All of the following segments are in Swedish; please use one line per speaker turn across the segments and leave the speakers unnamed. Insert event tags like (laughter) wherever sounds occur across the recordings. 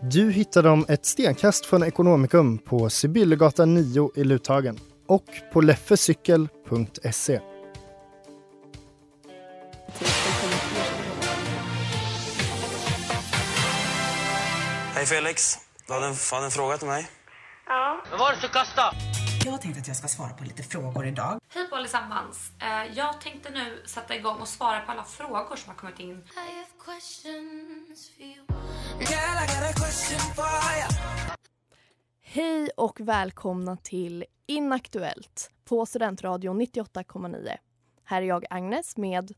Du hittar dem ett stenkast från Ekonomikum på Sibyllegatan 9 i Luthagen och på leffecykel.se.
Hej Felix, du hade en, fan en fråga till mig.
Jag tänkte att jag ska svara på lite frågor idag.
Hej på allesammans! Eh, Jag tänkte nu sätta igång och svara på alla frågor som har kommit in.
Hej och välkomna till Inaktuellt på Studentradion 98,9. Här är jag Agnes med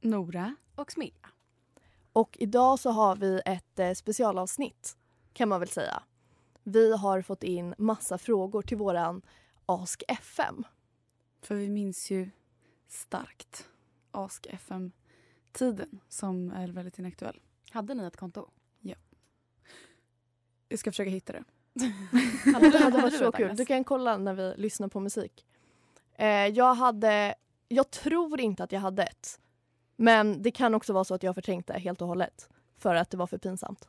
Nora och Smilla.
och idag så har vi ett eh, specialavsnitt kan man väl säga. Vi har fått in massa frågor till våran Ask FM.
För vi minns ju starkt Ask FM-tiden som är väldigt inaktuell.
Hade ni ett konto?
Jag ska försöka hitta det. (laughs)
Det hade varit så kul. Du kan kolla när vi lyssnar på musik. Eh, jag hade, jag tror inte att jag hade ett. Men det kan också vara så att jag förträngde helt och hållet för att det var för pinsamt.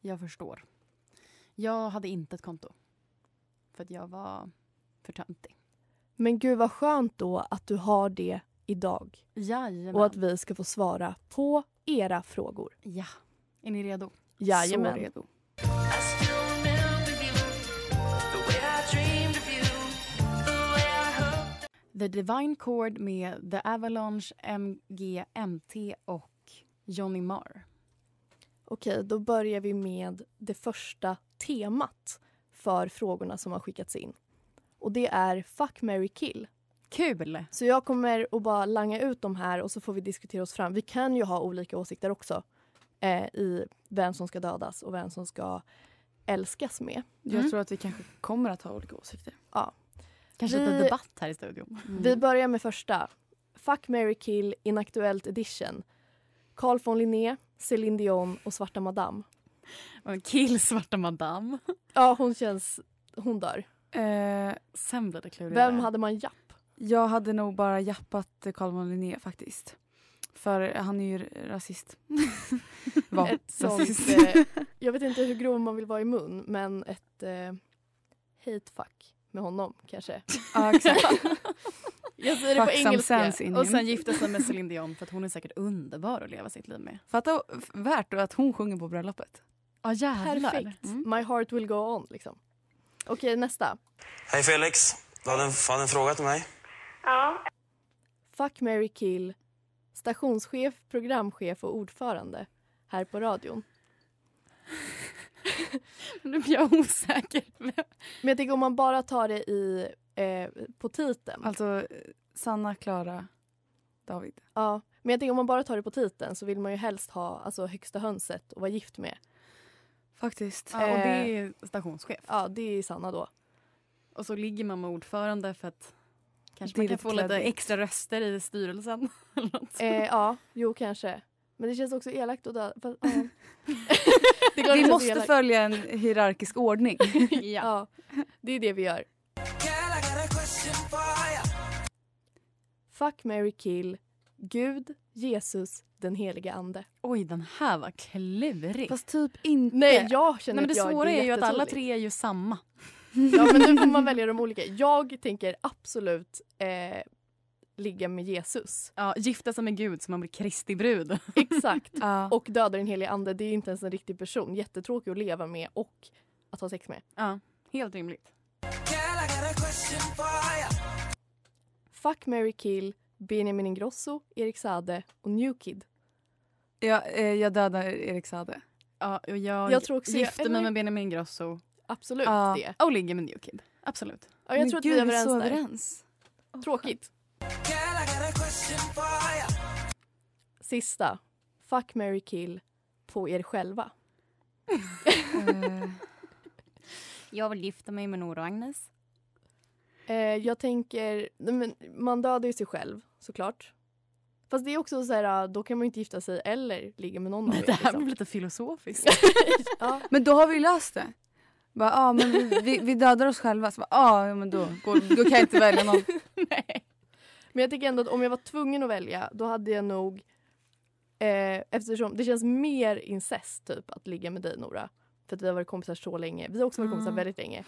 Jag förstår. Jag hade inte ett konto. För att jag var för töntig.
Men gud vad skönt då att du har det idag
Jajamän.
och att vi ska få svara på era frågor.
Ja. Är ni redo?
Jajamän.
Så redo.
The Divine Chord med The Avalanche, MGMT och Johnny Marr.
Okej, då börjar vi med det första temat för frågorna som har skickats in. Och det är Fuck, Mary kill.
Kul!
Så jag kommer att bara langa ut de här och så får vi diskutera oss fram. Vi kan ju ha olika åsikter också eh, i vem som ska dödas och vem som ska älskas med.
Jag
Mm.
tror att vi kanske kommer att ha olika åsikter.
Kanske
Vi- Mm.
lite debatt här i studion.
Vi börjar med första. Fuck, Mary kill inaktuellt edition. Carl von Linné, Céline Dion och Svarta Madame.
Och Kill Svarta Madame.
Ja, hon känns... Hon dör.
Eh,
Sen blir det klurigare.
Vem hade man japp?
jag hade nog bara jappat Carl von Linné faktiskt. För han är ju rasist. (laughs) Var
Ett sånt,
rasist.
eh, jag vet inte hur grov man vill vara i mun, men ett eh, hate fuck med honom kanske.
(laughs)
ja, exakt.
Jag säger det på
Fuck some
engelska.
sense in
Och
him.
sen gifta sig med Céline Dion för att hon är säkert underbar att leva sitt liv med.
Fatta f- värt då att hon sjunger på bröllopet.
Ja jävlar.
Perfekt.
Mm.
My heart will go on. Liksom. Okej, nästa.
Hej Felix, du hade en, fan en fråga till mig.
Fuck, Mary kill stationschef, programchef och ordförande här på radion.
(laughs) Nu blir jag osäker.
Men jag tänker om man bara tar det i, eh, på titeln.
Alltså eh, Sanna, Klara, David.
Ja, men jag tänker om man bara tar det på titeln så vill man ju helst ha alltså, högsta hönset och vara gift med. Eh,
Faktiskt.
Ja, och det är stationschef.
Ja, det är Sanna då.
Och så ligger man med ordförande för att kanske
Det är
man kan
lite
få lite
kladdigt.
extra röster i styrelsen. (laughs) eller något.
Eh, ja, jo kanske. Men det känns också elakt att dö.
(laughs)
fast, ja. (laughs) det är klart det
Vi
känns
måste
elakt.
följa en hierarkisk ordning.
ja.
Ja, det är det vi gör. Fuck, Mary kill Gud, Jesus, den heliga ande.
Oj, den här var klurig.
Fast typ inte.
Nej, jag
Nej,
känner
men det
att jag
svåra är ju att alla
jättetydlig.
tre är ju samma.
(laughs) Ja, men nu får man välja de olika. Jag tänker absolut eh, ligga med Jesus.
Ja, gifta sig med Gud så man blir Kristi brud.
Exakt.
Ja.
(laughs)
Och döda den heliga ande, det är inte ens en riktig person. Jättetråkig att leva med och
att ha sex med.
Ja, helt rimligt.
Fuck, Mary kill, Benjamin Ingrosso, Erik Sade och New Kid.
Jag, eh, jag dödar Erik Sade.
Ja, och jag,
Jag tror också jag-
gifte mig med Benjamin Ingrosso
Absolut
Ja.
det.
och ligger med Newkid. Absolut.
Ja, jag
Men
tror att
gud,
vi är överens
så
där.
överens.
Tråkigt. Sista. Fuck, Mary kill på er själva.
Eh,
Jag vill gifta mig med Nora och Agnes.
Eh, jag tänker, nej, men man dödar ju sig själv såklart. Fast det är också så här, ah, då kan man ju inte gifta sig eller ligga med någon av er.
(laughs) Det här
liksom.
blev lite filosofiskt. (laughs)
ja.
men då har vi ju löst det. Bara, ah, men vi, vi, vi dödar oss själva. Så bara, ah, ja, men då, går, då kan jag inte välja någon.
Nej.
Men jag tycker ändå att om jag var tvungen att välja då hade jag nog eh, eftersom det känns mer incest typ att ligga med dig Nora. För att vi har varit kompisar så länge. Vi har också varit kompisar
Ah.
väldigt
(laughs)
länge.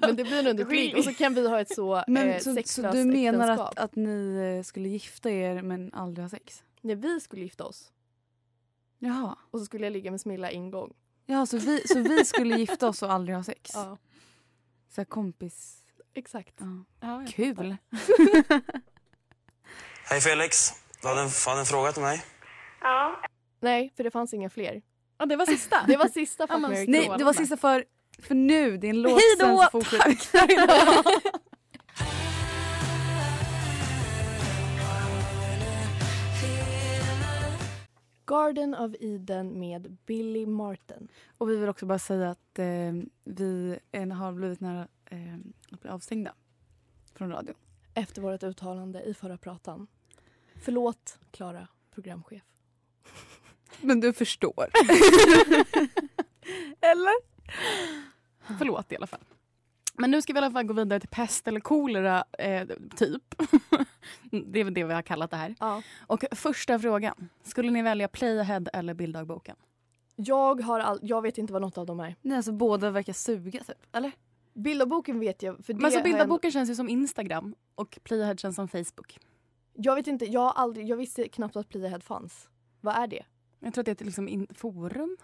Men det blir nog ändå ett ligg och så kan vi ha ett så,
Men,
eh,
så, så
sexlöst
du menar att,
äktenskap.
att ni eh, skulle gifta er men aldrig ha sex?
När vi skulle gifta oss
Jaha.
och så skulle jag ligga med Smilla en gång.
Ja, så vi, så vi skulle gifta oss och aldrig ha sex?
Ja,
Så här kompis...
exakt.
Ja.
Ja, jag
Kul!
Hej Felix, du hade en, hade en fråga till mig.
Nej, för det fanns inga fler.
Ja, det
(laughs)
var (laughs) sista.
Det var
(laughs)
sista
Ja,
Fuck,
men
marry,
Nej,
kill.
det var sista för, för nu. Det är en låt.
Hej
sen
då!
så fortsätter-
(laughs) Garden of Eden med Billy Martin.
Och vi vill också bara säga att eh, vi eh, har blivit nära eh, att bli avstängda från radion.
Efter vårt uttalande i förra pratan. Förlåt, Klara, programchef.
Men du förstår.
(laughs) Förlåt i alla fall. Men nu ska vi i alla fall gå vidare till pest eller kolera, eh, typ. (laughs) det är väl det vi har kallat det här.
Ja.
Och första frågan. Skulle ni välja Playahead eller Bilddagboken?
Jag, har all, jag vet inte vad något av dem är.
Nej, alltså båda verkar suga typ. Eller?
Bilderboken vet jag. För det
Men
har
så
jag ändå-
Bilddagboken känns ju som Instagram och Playahead känns som Facebook.
Jag vet inte, jag, har aldrig, jag visste knappt att Pliahead fanns. Vad är det?
Jag tror att det är ett liksom in- forum.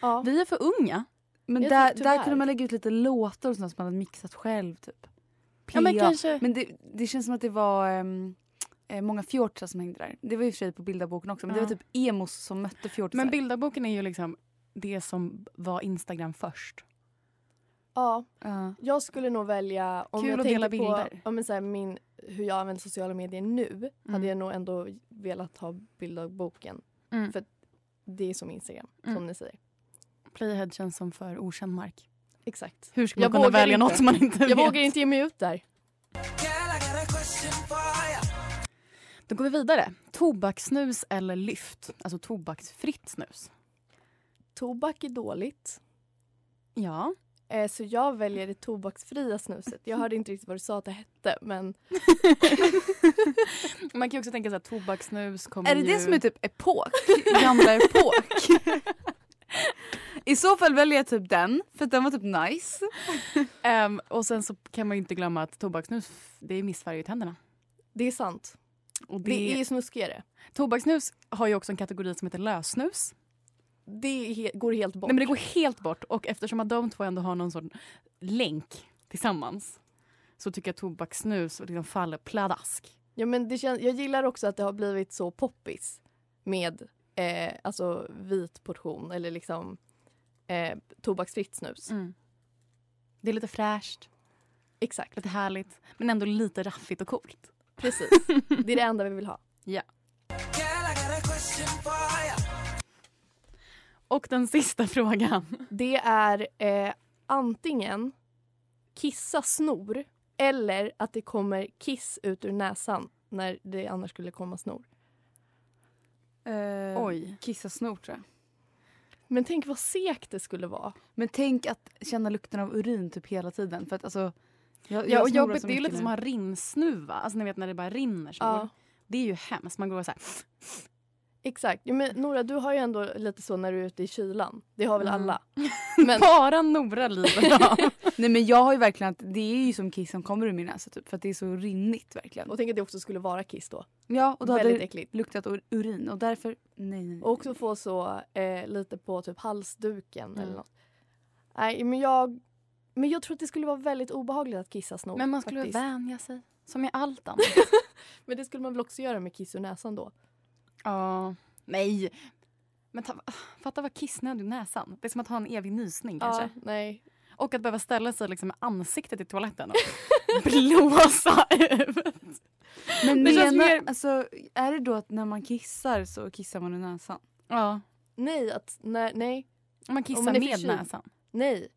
Ja.
Vi är för unga.
Men
Jag
där,
tror
där
tyvärr.
kunde man lägga ut lite låtar och sånt som man hade mixat själv typ.
Ja, men
PA.
kanske.
Men det, det känns som att det var ehm, eh, många fjortisar som hängde där. Det var i och för sig på bilderboken också men
Ja.
det var typ emos som mötte fjortisar.
Men Bilddagboken är ju liksom det som var Instagram först.
ja.
Ja.
Jag skulle nog välja... Om
Kul
jag
att
tänker
dela
På,
bilder.
ja, men så här, min, hur jag använder sociala medier nu hade jag nog ändå velat ha bilddagboken.
Mm.
För det är som Instagram,
Mm.
som ni säger.
Playahead känns som för okänd mark.
Exakt.
Hur ska
Jag
man kunna
vågar
välja
inte.
något som man inte
Jag
vet?
vågar inte ge mig ut där.
Då går vi vidare. Tobakssnus eller lyft? Alltså tobaksfritt snus.
Tobak är dåligt.
Ja.
Eh, så jag väljer det tobaksfria snuset. Jag hörde inte riktigt vad du sa att det hette men
Man kan ju också tänka sig att tobakssnus kommer
Är det
ju...
det som är typ epok? Gamla epok? I så fall väljer jag typ den för att den var typ nice.
Ehm, och sen så kan man ju inte glömma att tobaksnus, f- det missfärgar ju tänderna.
det är sant.
Och
Det, är snuskigare.
Tobaksnus har ju också en kategori som heter lössnus.
Det är he- går helt bort.
Nej, men det går helt bort och eftersom att de två ändå har någon sorts länk tillsammans så tycker jag att tobakssnus liksom faller pladask.
Ja, men det kän- jag gillar också att det har blivit så poppis med eh, alltså vit portion eller liksom eh, tobaksfritt snus.
Mm.
Mm. Det är lite fräscht,
(laughs)
Exakt,
lite härligt men ändå lite raffigt och coolt.
precis. Det är det enda vi vill ha.
Och den sista (laughs) frågan.
Det är eh, antingen kissa snor eller att det kommer kiss ut ur näsan när det annars skulle komma snor.
Eh,
Oj.
Kissa snor tror jag.
Men tänk vad segt det skulle vara.
Men tänk att känna lukten av urin typ hela tiden. För att alltså, jag,
Ja, och
snorar
jobbigt,
så
det är ju
mycket nu.
lite som att ha rinnsnuva, alltså ni vet när det bara rinner. Så
Ja,
Det är ju hemskt, man går så här.
exakt. Jo, men Nora, du har ju ändå lite så när du är ute i kylan. Det har väl
Mm.
alla? Men-
Bara
(laughs)
Nora lider av.
Nej men jag har ju verkligen att det är ju som kiss som kommer ur min näsa typ. För att det är så rinnigt verkligen.
Och tänk att det också skulle vara kiss då.
ja och då hade
Väldigt
det
äckligt.
luktat ur- urin och därför nej nej. nej.
Mm.
Och också få så eh, lite på typ halsduken eller något. Nej, men jag, men jag tror att det skulle vara väldigt obehagligt att kissa snor.
Men man skulle
faktiskt.
vänja sig. Som i
(laughs)
allt annat.
men det skulle man väl också göra med kiss ur näsan då?
Ja. Nej. Men ta, fatta vad kissnödig i näsan. Det är som att ha en evig nysning kanske.
Ja, nej.
Och att behöva ställa sig liksom med ansiktet i toaletten och
(laughs)
blåsa ut.
Men
Det
menar,
känns mer-
alltså, är det då att när man kissar så kissar man i näsan?
Ja.
Nej, att, nej, nej,
Om man kissar
man är
med
förkyld.
näsan.
nej.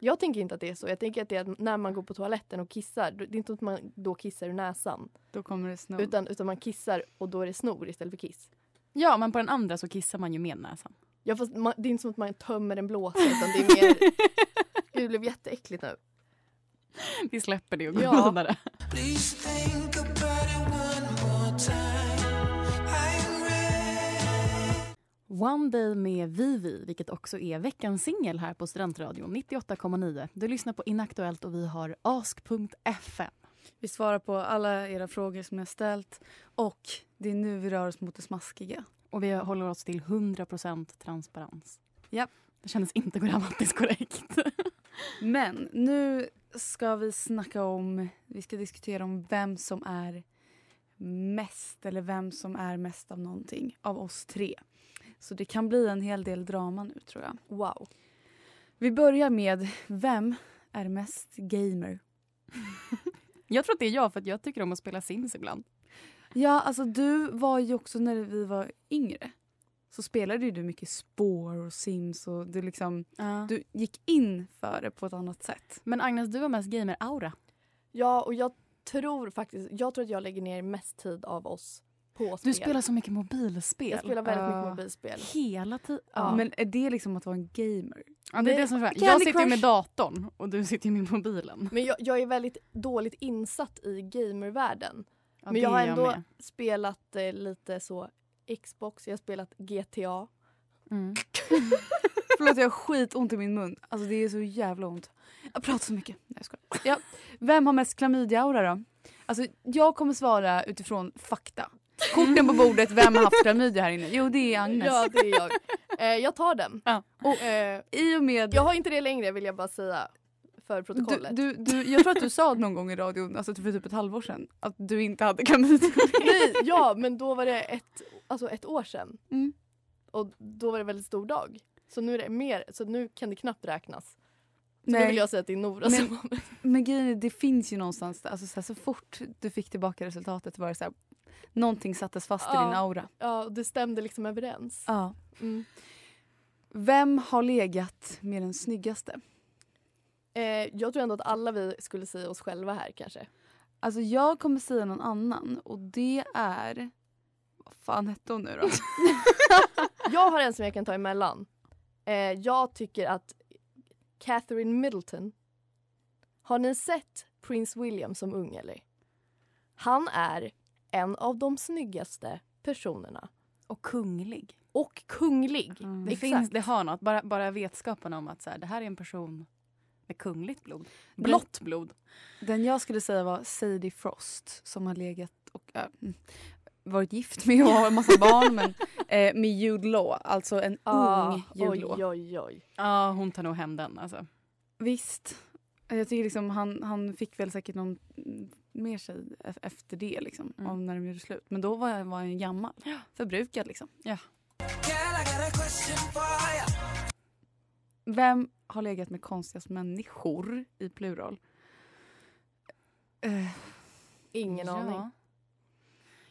Jag tänker inte att det är så. Jag tänker att det är att när man går på toaletten och kissar, det är inte att man då kissar ur näsan.
Då kommer det
Mm.
snor.
Utan, utan man kissar och då är det snor istället för kiss.
Ja, men på den andra så kissar man ju med näsan.
Ja, fast man, det är inte som att man tömmer en blåsa utan det är
(laughs)
mer... Gud, det blev jätteäckligt nu.
Vi släpper det och går
Ja.
vidare. One Day med Vivi, vilket också är veckans singel här på Studentradion 98,9. Du lyssnar på Inaktuellt och vi har ask.fm.
Vi svarar på alla era frågor som ni har ställt och det är nu vi rör oss mot det smaskiga.
Och vi håller oss till 100 transparens.
Japp.
Det kändes inte grammatiskt korrekt.
Men nu ska vi snacka om, vi ska diskutera om vem som är mest eller vem som är mest av någonting av oss tre. Så det kan bli en hel del drama nu tror jag.
Wow.
Vi börjar med, vem är mest gamer?
Jag tror att det är jag, för att jag tycker om att spela Sims ibland.
Ja, alltså du var ju också när vi var yngre så spelade ju du mycket spår och Sims och du liksom,
Du-
du gick in för det på ett annat sätt.
Men Agnes, du har mest gamer-aura.
Ja, och jag tror faktiskt... Jag tror att jag lägger ner mest tid av oss på spel.
Du spelar så mycket mobilspel.
Jag spelar väldigt mycket
Ja.
mobilspel.
Hela tiden.
Ja.
Men är det liksom att vara en gamer?
Ja, det är det som är så här.
Candy
Jag sitter ju
Crush.
med datorn och du sitter ju med mobilen.
Men jag, jag är väldigt dåligt insatt i gamervärlden.
Ja,
men
det
jag har
är
ändå
med.
spelat eh, lite så Xbox, jag har spelat GTA.
Mm.
Förlåt Alltså, jag har skitont i min mun. Alltså det är så jävla ont. Jag pratar så mycket. Nej jag skojar. Ja. Vem har mest klamydiaura då? Alltså jag kommer svara utifrån fakta. Korten på bordet, vem har haft klamydia här inne? Jo det är Agnes.
Ja, det är jag. Eh, jag tar den.
Ja.
Och, eh,
I och med...
jag har inte det längre vill jag bara säga för
du,
protokollet.
du, du, jag tror att du sa någon gång i radion, alltså för typ ett halvår sedan, att du inte hade klamydia.
Nej, ja, men då var det ett, alltså ett år sedan.
Mm.
Och då var det väldigt stor dag. Så nu är det mer, så nu kan det knappt räknas. Så nu vill
Nej,
jag säga att det är Nora
Men-
som var med.
men grejen är, det finns ju någonstans, där. alltså så, här, så fort du fick tillbaka resultatet var det så här, någonting sattes fast i
Ja.
din aura.
Ja, och det stämde liksom överens.
Ja.
Mm.
Vem har legat med den snyggaste?
Eh, jag tror ändå att alla vi skulle säga oss själva här kanske.
Alltså jag kommer säga någon annan och det är... Vad fan hette hon nu då?
Jag har en som jag kan ta emellan. Eh, jag tycker att Catherine Middleton. Har ni sett Prince William som ung eller? Han är en av de snyggaste personerna.
Och kunglig.
Och kunglig.
Mm.
Det,
Exakt.
finns, det har något. Bara, bara vetskapen om att så här, det här är en person med kungligt blod.
Den-
Blått blod.
Den jag skulle säga var Sadie Frost som har legat och äh, mm, varit gift med och har en massa barn
(laughs)
men eh, med Jude Law, alltså en
Ah,
ung Jude
oj,
Law.
oj, oj.
Ja, hon tar nog hem den. Alltså.
Visst. Jag tycker liksom han, han fick väl säkert någon mm, mer sig e- efter det liksom,
Mm.
av när de gjorde slut. Men då var, jag- var han ju gammal, förbrukad liksom. Vem har legat med konstigast människor i plural? Eh,
Ingen aning.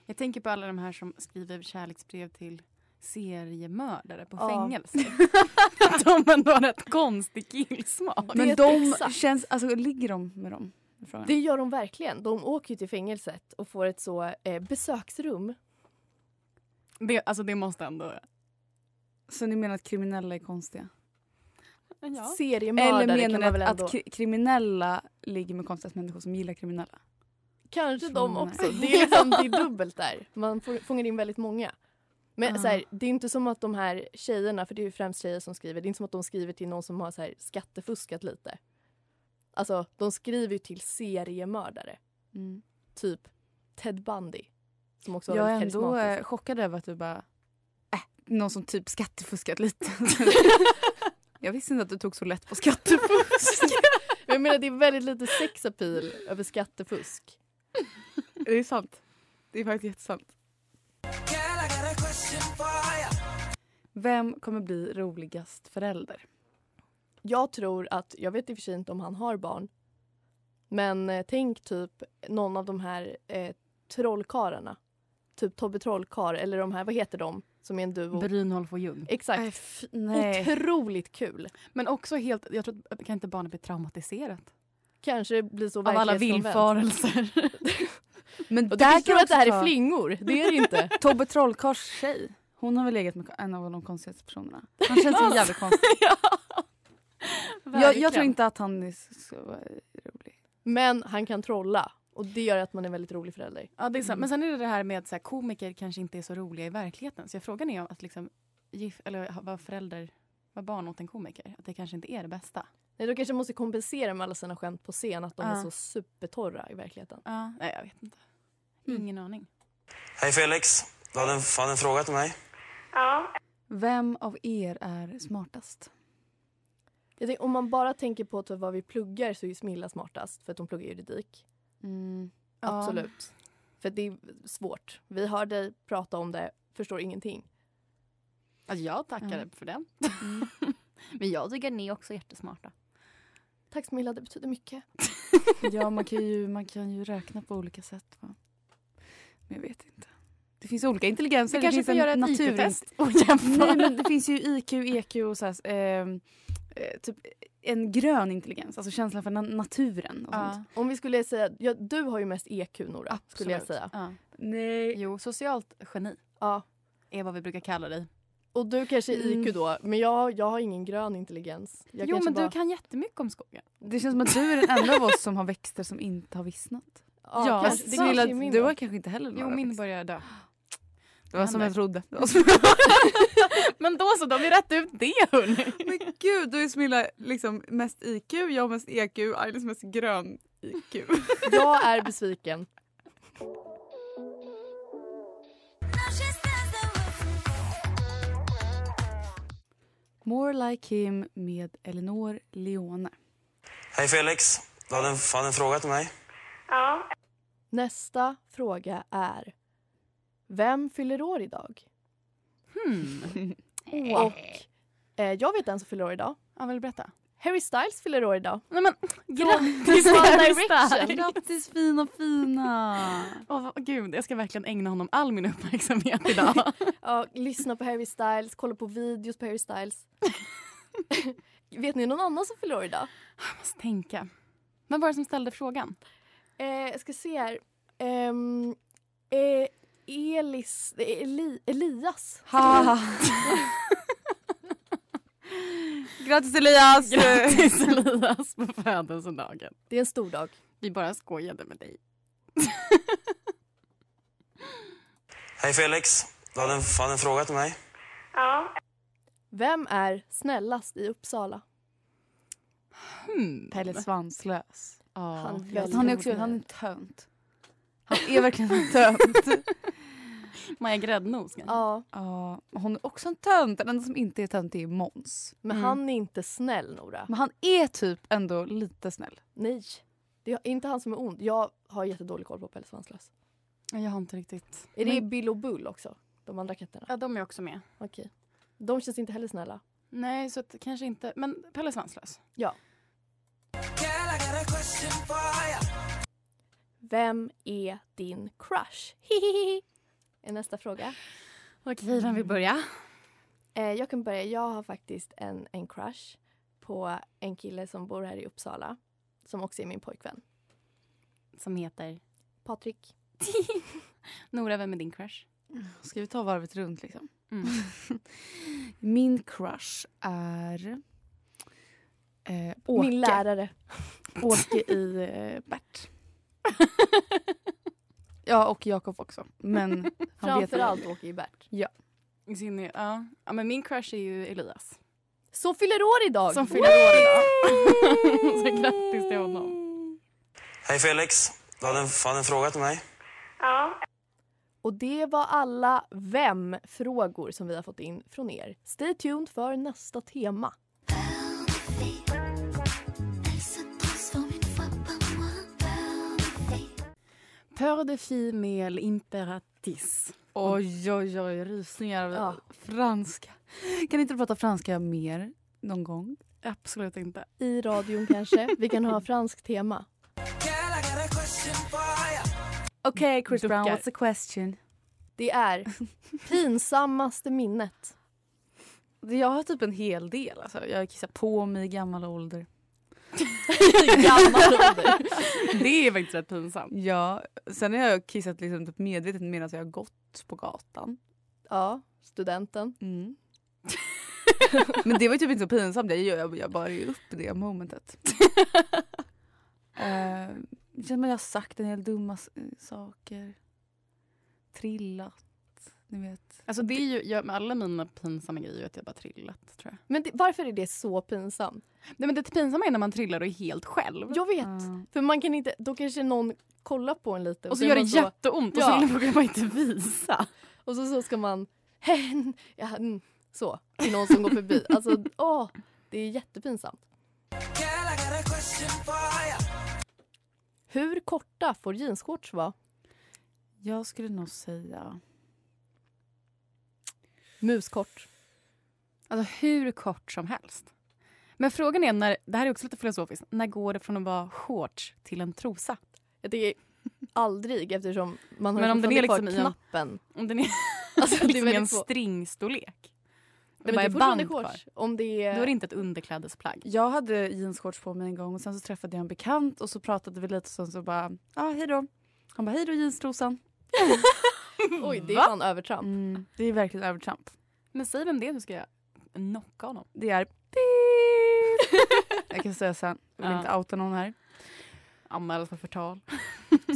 Jag tänker på alla de här som skriver kärleksbrev till seriemördare på
Ja.
fängelse. (laughs) Att de ändå har rätt konstig killsmak.
men
Vet
de
exakt.
känns, alltså ligger de med dem? Är frågan.
Det gör de verkligen. De åker ju till fängelset och får ett så eh, besöksrum.
Det, alltså det måste ändå...
Så ni menar att kriminella är konstiga?
Seriemördare
Eller
kan
menar ni
man väl
att,
ändå...
att kri- kriminella ligger med konstiga människor som gillar kriminella?
Kanske de
Från-
också. Det är, liksom, det är dubbelt där. Man får- fångar in väldigt många. Men
Ah.
så här, det är inte som att de här tjejerna, för det är ju främst tjejer som skriver, det är inte som att de skriver till någon som har så här, skattefuskat lite. Alltså, de skriver ju till seriemördare.
Mm.
Typ Ted Bundy. Som också var
Jag är
väldigt
ändå eh,
karismatisk.
(laughs) chockad över att du bara, äh, någon som typ skattefuskat lite. jag
Jag visste inte att du tog så lätt
(laughs)
på skattefusk.
Men jag menar det är väldigt lite sexapil över skattefusk.
det är sant. Det är faktiskt jättesant. Vem kommer bli roligast förälder?
Jag tror att, jag vet i och för sig inte om han har barn, men eh, tänk typ någon av de här eh, trollkarlarna. Typ Tobbe Trollkar eller de här, vad heter de som är en duo?
Brynolf och Ljung. Äh,
Exakt.
Nej, f- nej.
Otroligt kul.
Men också helt, jag tror att, kan inte barnet bli traumatiserat?
Kanske det blir så
Av alla
verklighetsfrånvänt.
villfarelser.
(laughs) Men
Och du kanske
kan
tror att det här
också
är
ta-
flingor, det är det
(laughs)
inte.
Tobbe Trollkarls tjej. Hon har väl legat med en av de konstigaste
(laughs)
personerna. Han känns ju jävligt konstig. jag, jag tror
Verkligen.
inte att han är så rolig.
Men han kan trolla och det gör att man är väldigt rolig förälder.
Ja, det är sant.
Mm.
Men sen är det det här med att komiker kanske inte är så roliga i verkligheten. Så jag frågan är om att liksom, gif, eller ha- vara förälder, vara barn åt en komiker. Att det kanske inte är det bästa.
Nej, då kanske man måste kompensera med alla sina skämt på scen att de
Ja.
är så supertorra i verkligheten.
Ja, nej, jag vet inte.
Mm.
Ingen aning.
Hej Felix, du hade en, hade en fråga till mig.
Vem av er är smartast?
Jag tänker, om man bara tänker på typ vad vi pluggar så är ju Smilla smartast för att hon pluggar juridik.
Mm.
Ja.
Absolut. För det är svårt. Vi hör dig prata om det, förstår ingenting.
Alltså, jag tackar
Mm.
för den. Men jag tycker ni också är jättesmarta.
Tack Smilla, det betyder mycket.
Ja, man kan, ju, man kan ju räkna på olika sätt. Va? Men jag vet inte. Det finns olika intelligenser.
Vi kanske
finns
får
en
göra ett
naturint- (laughs)
IQ-test och jämföra.
Nej, men det finns ju IQ, EQ och så här, ehm, eh, typ en grön intelligens. Alltså känslan för na- naturen och sånt.
ja.
Om vi skulle säga, ja, du har ju mest EQ Nora, skulle jag
Absolut.
säga.
Ja.
Nej.
Jo, socialt geni
Ja.
är vad vi brukar kalla dig.
Och du kanske är
Mm.
IQ då, men jag, jag har ingen grön intelligens. Jag
jo,
kanske
men
bara-
du kan jättemycket om skogen.
Det känns som att du är den enda av oss som har växter som inte har vissnat.
Ja, kanske, det kanske
Snilla,
är min
du
då.
har kanske inte heller
Jo,
några
min
växter.
börjar dö.
Det var som jag trodde. Alltså. Det (laughs) var som-
Men då så, då har vi rätt ut det hörni.
Men gud, då är Smilla liksom mest IQ, jag mest EQ, Ailis mest grön IQ.
Jag är besviken.
More like him med Elinor Leone.
Hej Felix, du hade en, hade en fråga till mig.
Nästa fråga är Vem fyller år idag?
Mm.
Och eh, jag vet en som fyller år idag.
Ja, vill du berätta?
Harry Styles fyller år idag.
Nej men
Grattis, One
Direction!
Direction!
Grattis fina fina!
Åh vad- gud, jag ska verkligen ägna honom all min uppmärksamhet idag.
Ja, lyssna på Harry Styles, kolla på videos på Harry Styles. (laughs) vet ni någon annan som fyller år idag?
jag måste tänka. Vem var det som ställde frågan?
Eh, jag ska se här. Ehm, eh, Elis, eh, Eli, Elias.
Ha. Grattis Elias!
Grattis Elias på födelsedagen.
Det är en stor dag.
Vi bara skojade med dig.
Hej Felix, du hade en, hade en fråga till mig.
Vem är snällast i Uppsala?
Hmm.
Pelle Svanslös.
Han
Ja,
väldigt
Han är också han är en tönt. Han är verkligen en tönt.
Maja Gräddnos kanske?
Ja,
Ja, hon är också en tönt. Den enda som inte är tönt är Måns.
men
Mm.
han är inte snäll Nora.
Men han är typ ändå lite snäll.
Nej, det är inte han som är ond. Jag har jättedålig koll på Pelle Svanslös.
Ja, Jag har inte riktigt...
Är det
Men-
Bill och Bull också? De andra katterna?
Ja, de är också med.
Okej. De känns inte heller snälla.
Nej, så att, kanske inte. Men Pelle Svanslös.
Vem är din crush? Hihihi. är nästa fråga.
Okej, vem vill
Mm.
börja?
Eh, jag kan börja. Jag har faktiskt en, en crush på en kille som bor här i Uppsala. Som också är min pojkvän.
Som heter?
Patrik.
Nora, vem är din crush?
Ska vi ta varvet runt liksom?
Mm.
(laughs) Min crush är eh, Åke.
Min
(laughs)
lärare.
Åke i eh, Bert. ja, och Jakob också.
(laughs)
Men han vet
Framförallt Åke i Bert.
I synnerhet- Ja. ja, men min crush är ju Elias.
Som fyller år idag!
Som fyller år idag. (laughs) Så grattis till honom.
Hej Felix, du hade en, hade en fråga till mig.
Och det var alla vem-frågor som vi har fått in från er. Stay tuned för nästa tema.
Peur de fille med imperatis.
Oj, oj, oj. Rysningar av franska. Kan inte du prata franska mer någon gång?
Absolut inte.
I radion kanske.
(laughs)
Vi kan ha franskt tema.
Okej, Chris
Duckar.
Brown, what's the question?
Det är pinsammaste minnet.
Jag har typ en hel del. Alltså, jag kissar på mig i gammal ålder. (laughs)
Det är faktiskt rätt pinsamt.
Ja, sen har jag kissat liksom typ medvetet medan jag har gått på gatan.
Ja, studenten.
Mm.
Men det var ju typ inte så pinsamt, jag, jag, jag bar ju upp det momentet. Eh, det känns som att jag har sagt en del dumma s- saker. Trillat, ni vet.
Alltså det är ju, jag, med alla mina pinsamma grejer är ju att jag bara trillat tror jag.
Men det, varför är det så pinsamt?
Nej men det pinsamma är när man trillar och är helt själv.
Jag vet.
Ah.
För man kan inte, då kanske någon kollar på en lite.
och så
är
gör det
man
jätteont och
Ja.
så (laughs) vågar man inte visa.
Och så, så ska man... (laughs) ja, mm, så, till någon som går förbi.
(laughs)
Alltså, åh, det är jättepinsamt. Hur korta får jeansshorts vara?
Jag skulle nog säga...
Muskort.
Alltså hur kort som helst. Men frågan är, när, det här är också lite filosofiskt, när går det från att vara shorts till en trosa?
Jag tycker aldrig eftersom man har
Men om den är
fortfarande
liksom i
kvar
en-
knappen.
Om (laughs) den är
Alltså, det är
liksom i en
väldigt svårt.
stringstorlek. Det
Men
bara är
fortfarande
band kvar.
Om det
Då
är...
är det inte ett underklädesplagg.
Eh, Jag hade jeansshorts på mig en gång och sen så träffade jag en bekant och så pratade vi lite och sen så bara, ja ah, hej då. Han bara, hej då jeanstrosan.
(laughs) Oj, det är fan övertramp. (laughs)
Mm, det är verkligen övertramp.
Men säg vem det är så ska jag knocka honom.
Det är pip. Jag kan säga sen, jag vill
Ja.
inte outa någon här.
Anmälas för förtal.
(laughs)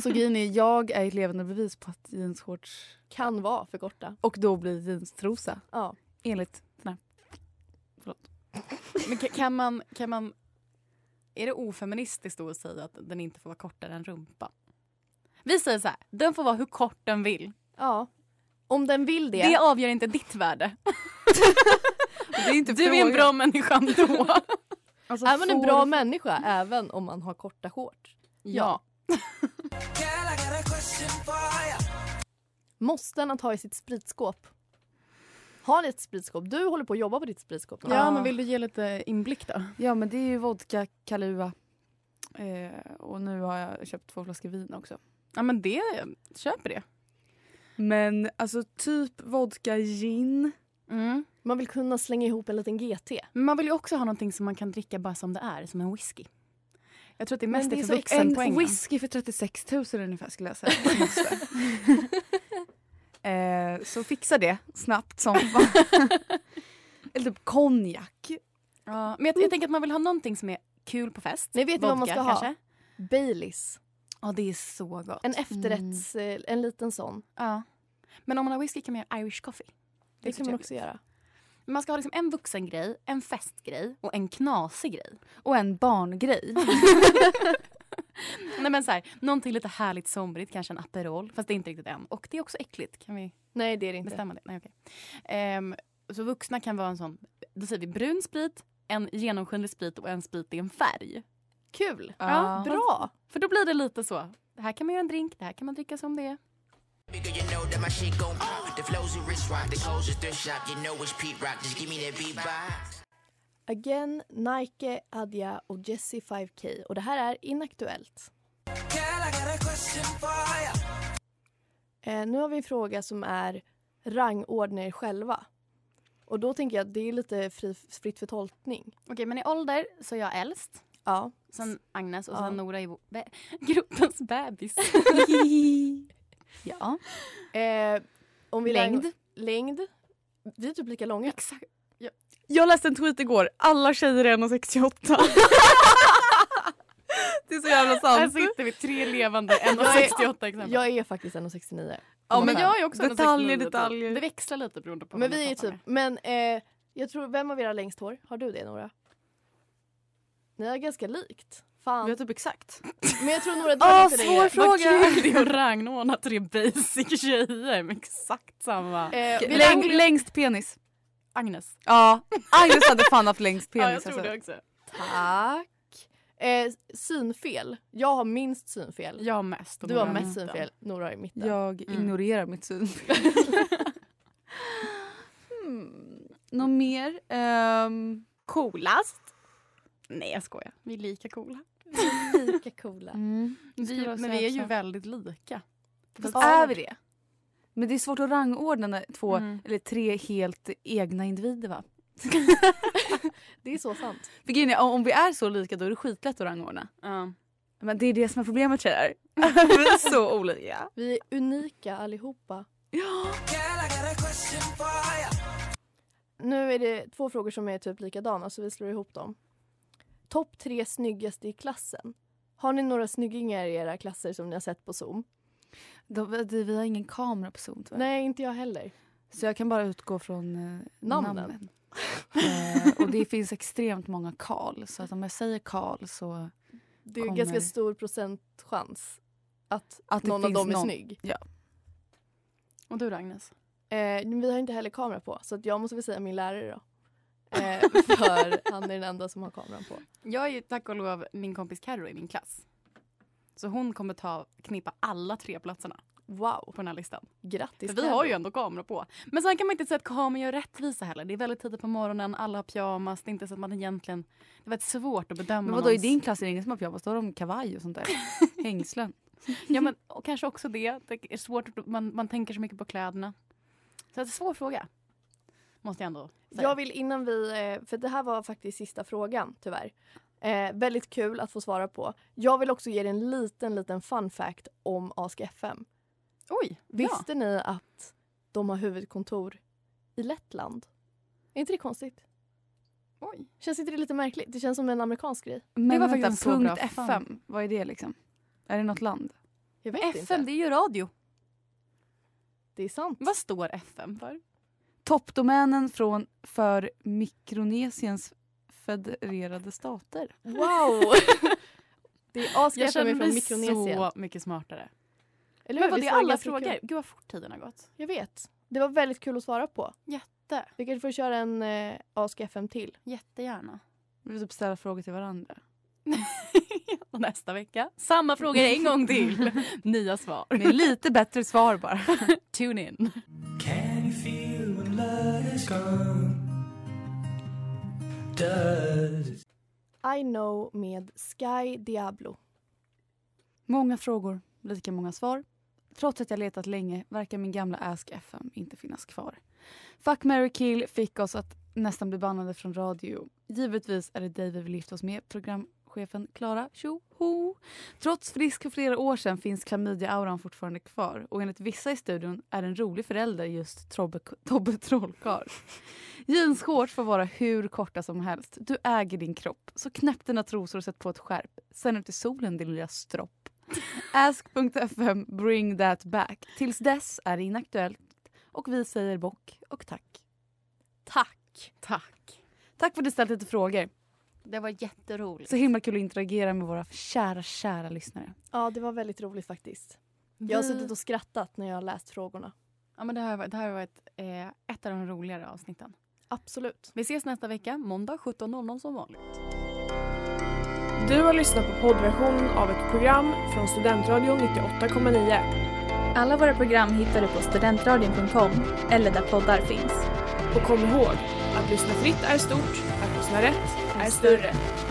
Så grejen är, jag är ett levande bevis på att jeansshorts
Kan vara för korta.
och då blir jeanstrosa
Ja.
enligt den här.
Men ka- kan man, kan man... Är det ofeministiskt då att säga att den inte får vara kortare än rumpan? Vi säger så här, den får vara hur kort den vill.
ja. Om den vill det.
Det, avgör inte ditt värde.
(laughs) Det är inte
Du är en bra
(laughs)
människa ändå.
alltså,
Är man en
får-
bra människa även om man har korta shorts?
ja.
Måste han att ha i sitt spritskåp? Har ni ett spritskåp? Du håller på att jobba på ditt spritskåp. nu.
ja, men vill du ge lite inblick då?
Ja men det är ju vodka, Kahlua. Eh, och nu har jag köpt två flaskor vin också.
Ja men det, köper det.
Men alltså typ vodka, gin.
Mm.
Man vill kunna slänga ihop en liten GT.
Men man vill ju också ha någonting som man kan dricka bara som det är, som en whisky. Jag tror att det är mest
det
det
är
är
så
för vuxenpoängen.
En whisky för 36 000 ungefär skulle jag säga.
(laughs)
(laughs) Måste. eh, så fixa det snabbt
(laughs)
som fan. Eller typ konjak.
Ja, men jag, jag tänker att man vill ha någonting som är kul på fest.
Ni vet ju vad man ska ha.
kanske?
Baileys.
Ja, det är så gott.
En efterrätts, eh, en liten sån.
Ja. Men om man har whisky kan man göra Irish coffee.
Det,
är så
kan man
trevligt.
också göra.
Men man ska ha liksom en vuxengrej, en festgrej och en knasig grej.
Och en barngrej.
(laughs) Nej, men så här, någonting lite härligt somrigt, kanske en Aperol. Fast det är inte riktigt än. Och det är också äckligt. Kan vi
Nej, det är det inte.
bestämma det? Nej, okej. Ehm, så vuxna kan vara en sån, då säger vi brun sprit, en genomskinlig sprit och en sprit i en färg.
Kul!
Ja.
Bra!
För då blir det lite så. Det här kan man göra en drink, det här kan man dricka som det är.
Again, Nike, Adja och Jesse 5K. Och det här är inaktuellt. Eh, nu har vi en fråga som är rangordna er själva. Och då tänker jag att det är lite fri, fritt för tolkning.
Okej, men i ålder så är jag äldst.
Ja.
Sen Agnes och
Ja.
sen Nora är vår be- (laughs) gruppens (laughs) bebis.
ja.
Eh, om vi
Längd.
rang- Längd. Vi är typ lika långa.
Exakt.
Jag läste en tweet igår. Alla tjejer är 1,68.
(laughs)
det är så jävla
Här
sant.
sitter vi tre levande, en och
Jag är-
68 exempel.
Jag är faktiskt 1,69.
Ja,
men jag är också
detaljer,
169 typ.
detaljer.
Det växlar lite beroende på
Men
vem
vi är
jag pratar
typ... Men eh, jag tror, vem av er har längst hår? Har du det Nora? Ni har ganska likt. Fan.
typ exakt.
Men jag tror
(laughs)
Nora du
Ah,
har lite
svår
det.
med. Vad
fråga.
kul det är att rangordna tre basic tjejer med exakt samma.
(laughs)
Eh, vi
Läng,
rang-
längst penis.
Agnes. alltså.
Ja, Agnes hade fan haft längst penis. alltså.
ja, jag tror det också.
Tack. Eh, synfel. Jag har minst synfel.
Jag mest. och
Du har
Nora
mest
mitten.
synfel. Nora är i mitten.
Jag
Mm.
ignorerar mitt
(laughs)
syn. hmm. Något mer? Ehm,
Coolast? Nej, jag skojar. Vi är lika coola.
Lika coola.
Mm. Vi,
vara så
men vi är ju
också.
väldigt lika.
Fast
Ja.
är vi det? Men det är svårt att rangordna när två
Mm.
eller tre helt egna individer va?
Det är så sant.
För grejen är, om om vi är så lika då är det skitlätt att rangordna.
Ja.
Men det är det som är problemet
(laughs)
tjejer. vi är så olika.
Vi är unika allihopa. Nu är det två frågor som är typ likadana så vi slår ihop dem. Topp tre snyggaste i klassen. Har ni några snyggingar i era klasser som ni har sett på Zoom?
De, de, vi har ingen kamera på Zoom tyvärr.
Nej, inte jag heller.
Så jag kan bara utgå från eh,
Namnen.
namnen.
(laughs)
eh, och det finns extremt många Karl så att om jag säger Karl så
Det är ju
Kommer.
ganska stor procentchans att,
Att det
någon av
finns
dem är
någon.
snygg.
Och du då, Agnes?
Eh, men vi har inte heller kamera på så att jag måste väl säga min lärare då. Eh,
(laughs)
för han är den enda som har kameran på.
Jag är ju tack och lov min kompis Carro i min klass. Så hon kommer ta, knippa alla tre platserna
Wow,
på den här listan.
grattis
För vi har ju ändå kamera på. Men sen kan man inte säga att kameran gör rättvisa heller. Det är väldigt tidigt på morgonen, alla har pyjamas. Det är inte så att man egentligen... Det var svårt att bedöma
Men vadå i
någons-
din klass är det ingen som har pyjamas? Då har de kavaj och sånt
(laughs)
där. Hängslen.
Ja, men och kanske också det. Det är svårt, att- man, man tänker så mycket på kläderna. Så det är en svår fråga. Måste jag ändå säga.
Jag vill innan vi, eh, för det här var faktiskt sista frågan tyvärr. Eh, väldigt kul att få svara på. Jag vill också ge er en liten, liten fun fact om AskFM.
Oj, ja.
Visste ni att de har huvudkontor i Lettland? Är inte det konstigt?
Oj.
Känns inte det lite märkligt? Det känns som en amerikansk grej.
Men
var
vänta,
faktiskt en så bra
punkt FM, vad är det liksom? Är det något land?
Jag vet
FM,
inte.
det är ju radio.
Det är sant.
Vad står FM för?
Toppdomänen från för Mikronesiens federerade stater.
(laughs)
Wow! det är
Jag
AskFM
känner
är
mig
från Mikronesien.
så mycket smartare.
Eller
Men
hur?
var
Visst
det
var
alla
ganska
frågor?
kul?
Gud vad fort tiden har gått.
Jag vet. Det var väldigt kul att svara på.
Jätte,
Vi kanske får köra en eh, AskFM till.
jättegärna.
Vi vill typ ställa frågor till varandra.
Och (laughs) nästa vecka, samma frågor en gång till.
(laughs)
Nya svar.
Med lite bättre svar bara.
Tune in.
Can you feel when love is gone? Does it
I know med Sky Diablo.
Många frågor, lika många svar. Trots att jag letat länge verkar min gamla Ask FM inte finnas kvar. Fuck, Mary kill fick oss att nästan bli bannade från radio. Givetvis är det dig vi vill lyfta oss med, programchefen Klara Tjoho. Trots frisk för flera år sedan finns klamydia-auran fortfarande kvar och enligt vissa i studion är en rolig förälder just Trobbe, (laughs) Tobbe Trollkarl. Jeansshorts får vara hur korta som helst. Du äger din kropp. Så knäpp dina trosor och sätt på ett skärp. Sen ut i solen din lilla stropp. Ask.fm bring that back. Tills dess är det inaktuellt och vi säger bock och tack.
Tack. Tack.
Tack för att du ställt lite frågor.
Det var jätteroligt.
Så himla kul att interagera med våra kära, kära lyssnare.
Ja, det var väldigt roligt faktiskt. Jag har
Vi-
suttit och skrattat när jag har läst frågorna.
Ja, men det här var- det här har varit eh, ett av de roligare avsnitten.
Absolut.
Vi ses nästa vecka, måndag 17.00 som vanligt.
Du har lyssnat på poddversionen av ett program från Studentradion 98,9.
Alla våra program hittar du på studentradion.com eller där poddar finns.
Och kom ihåg, att lyssna fritt är stort, att lyssna rätt är större.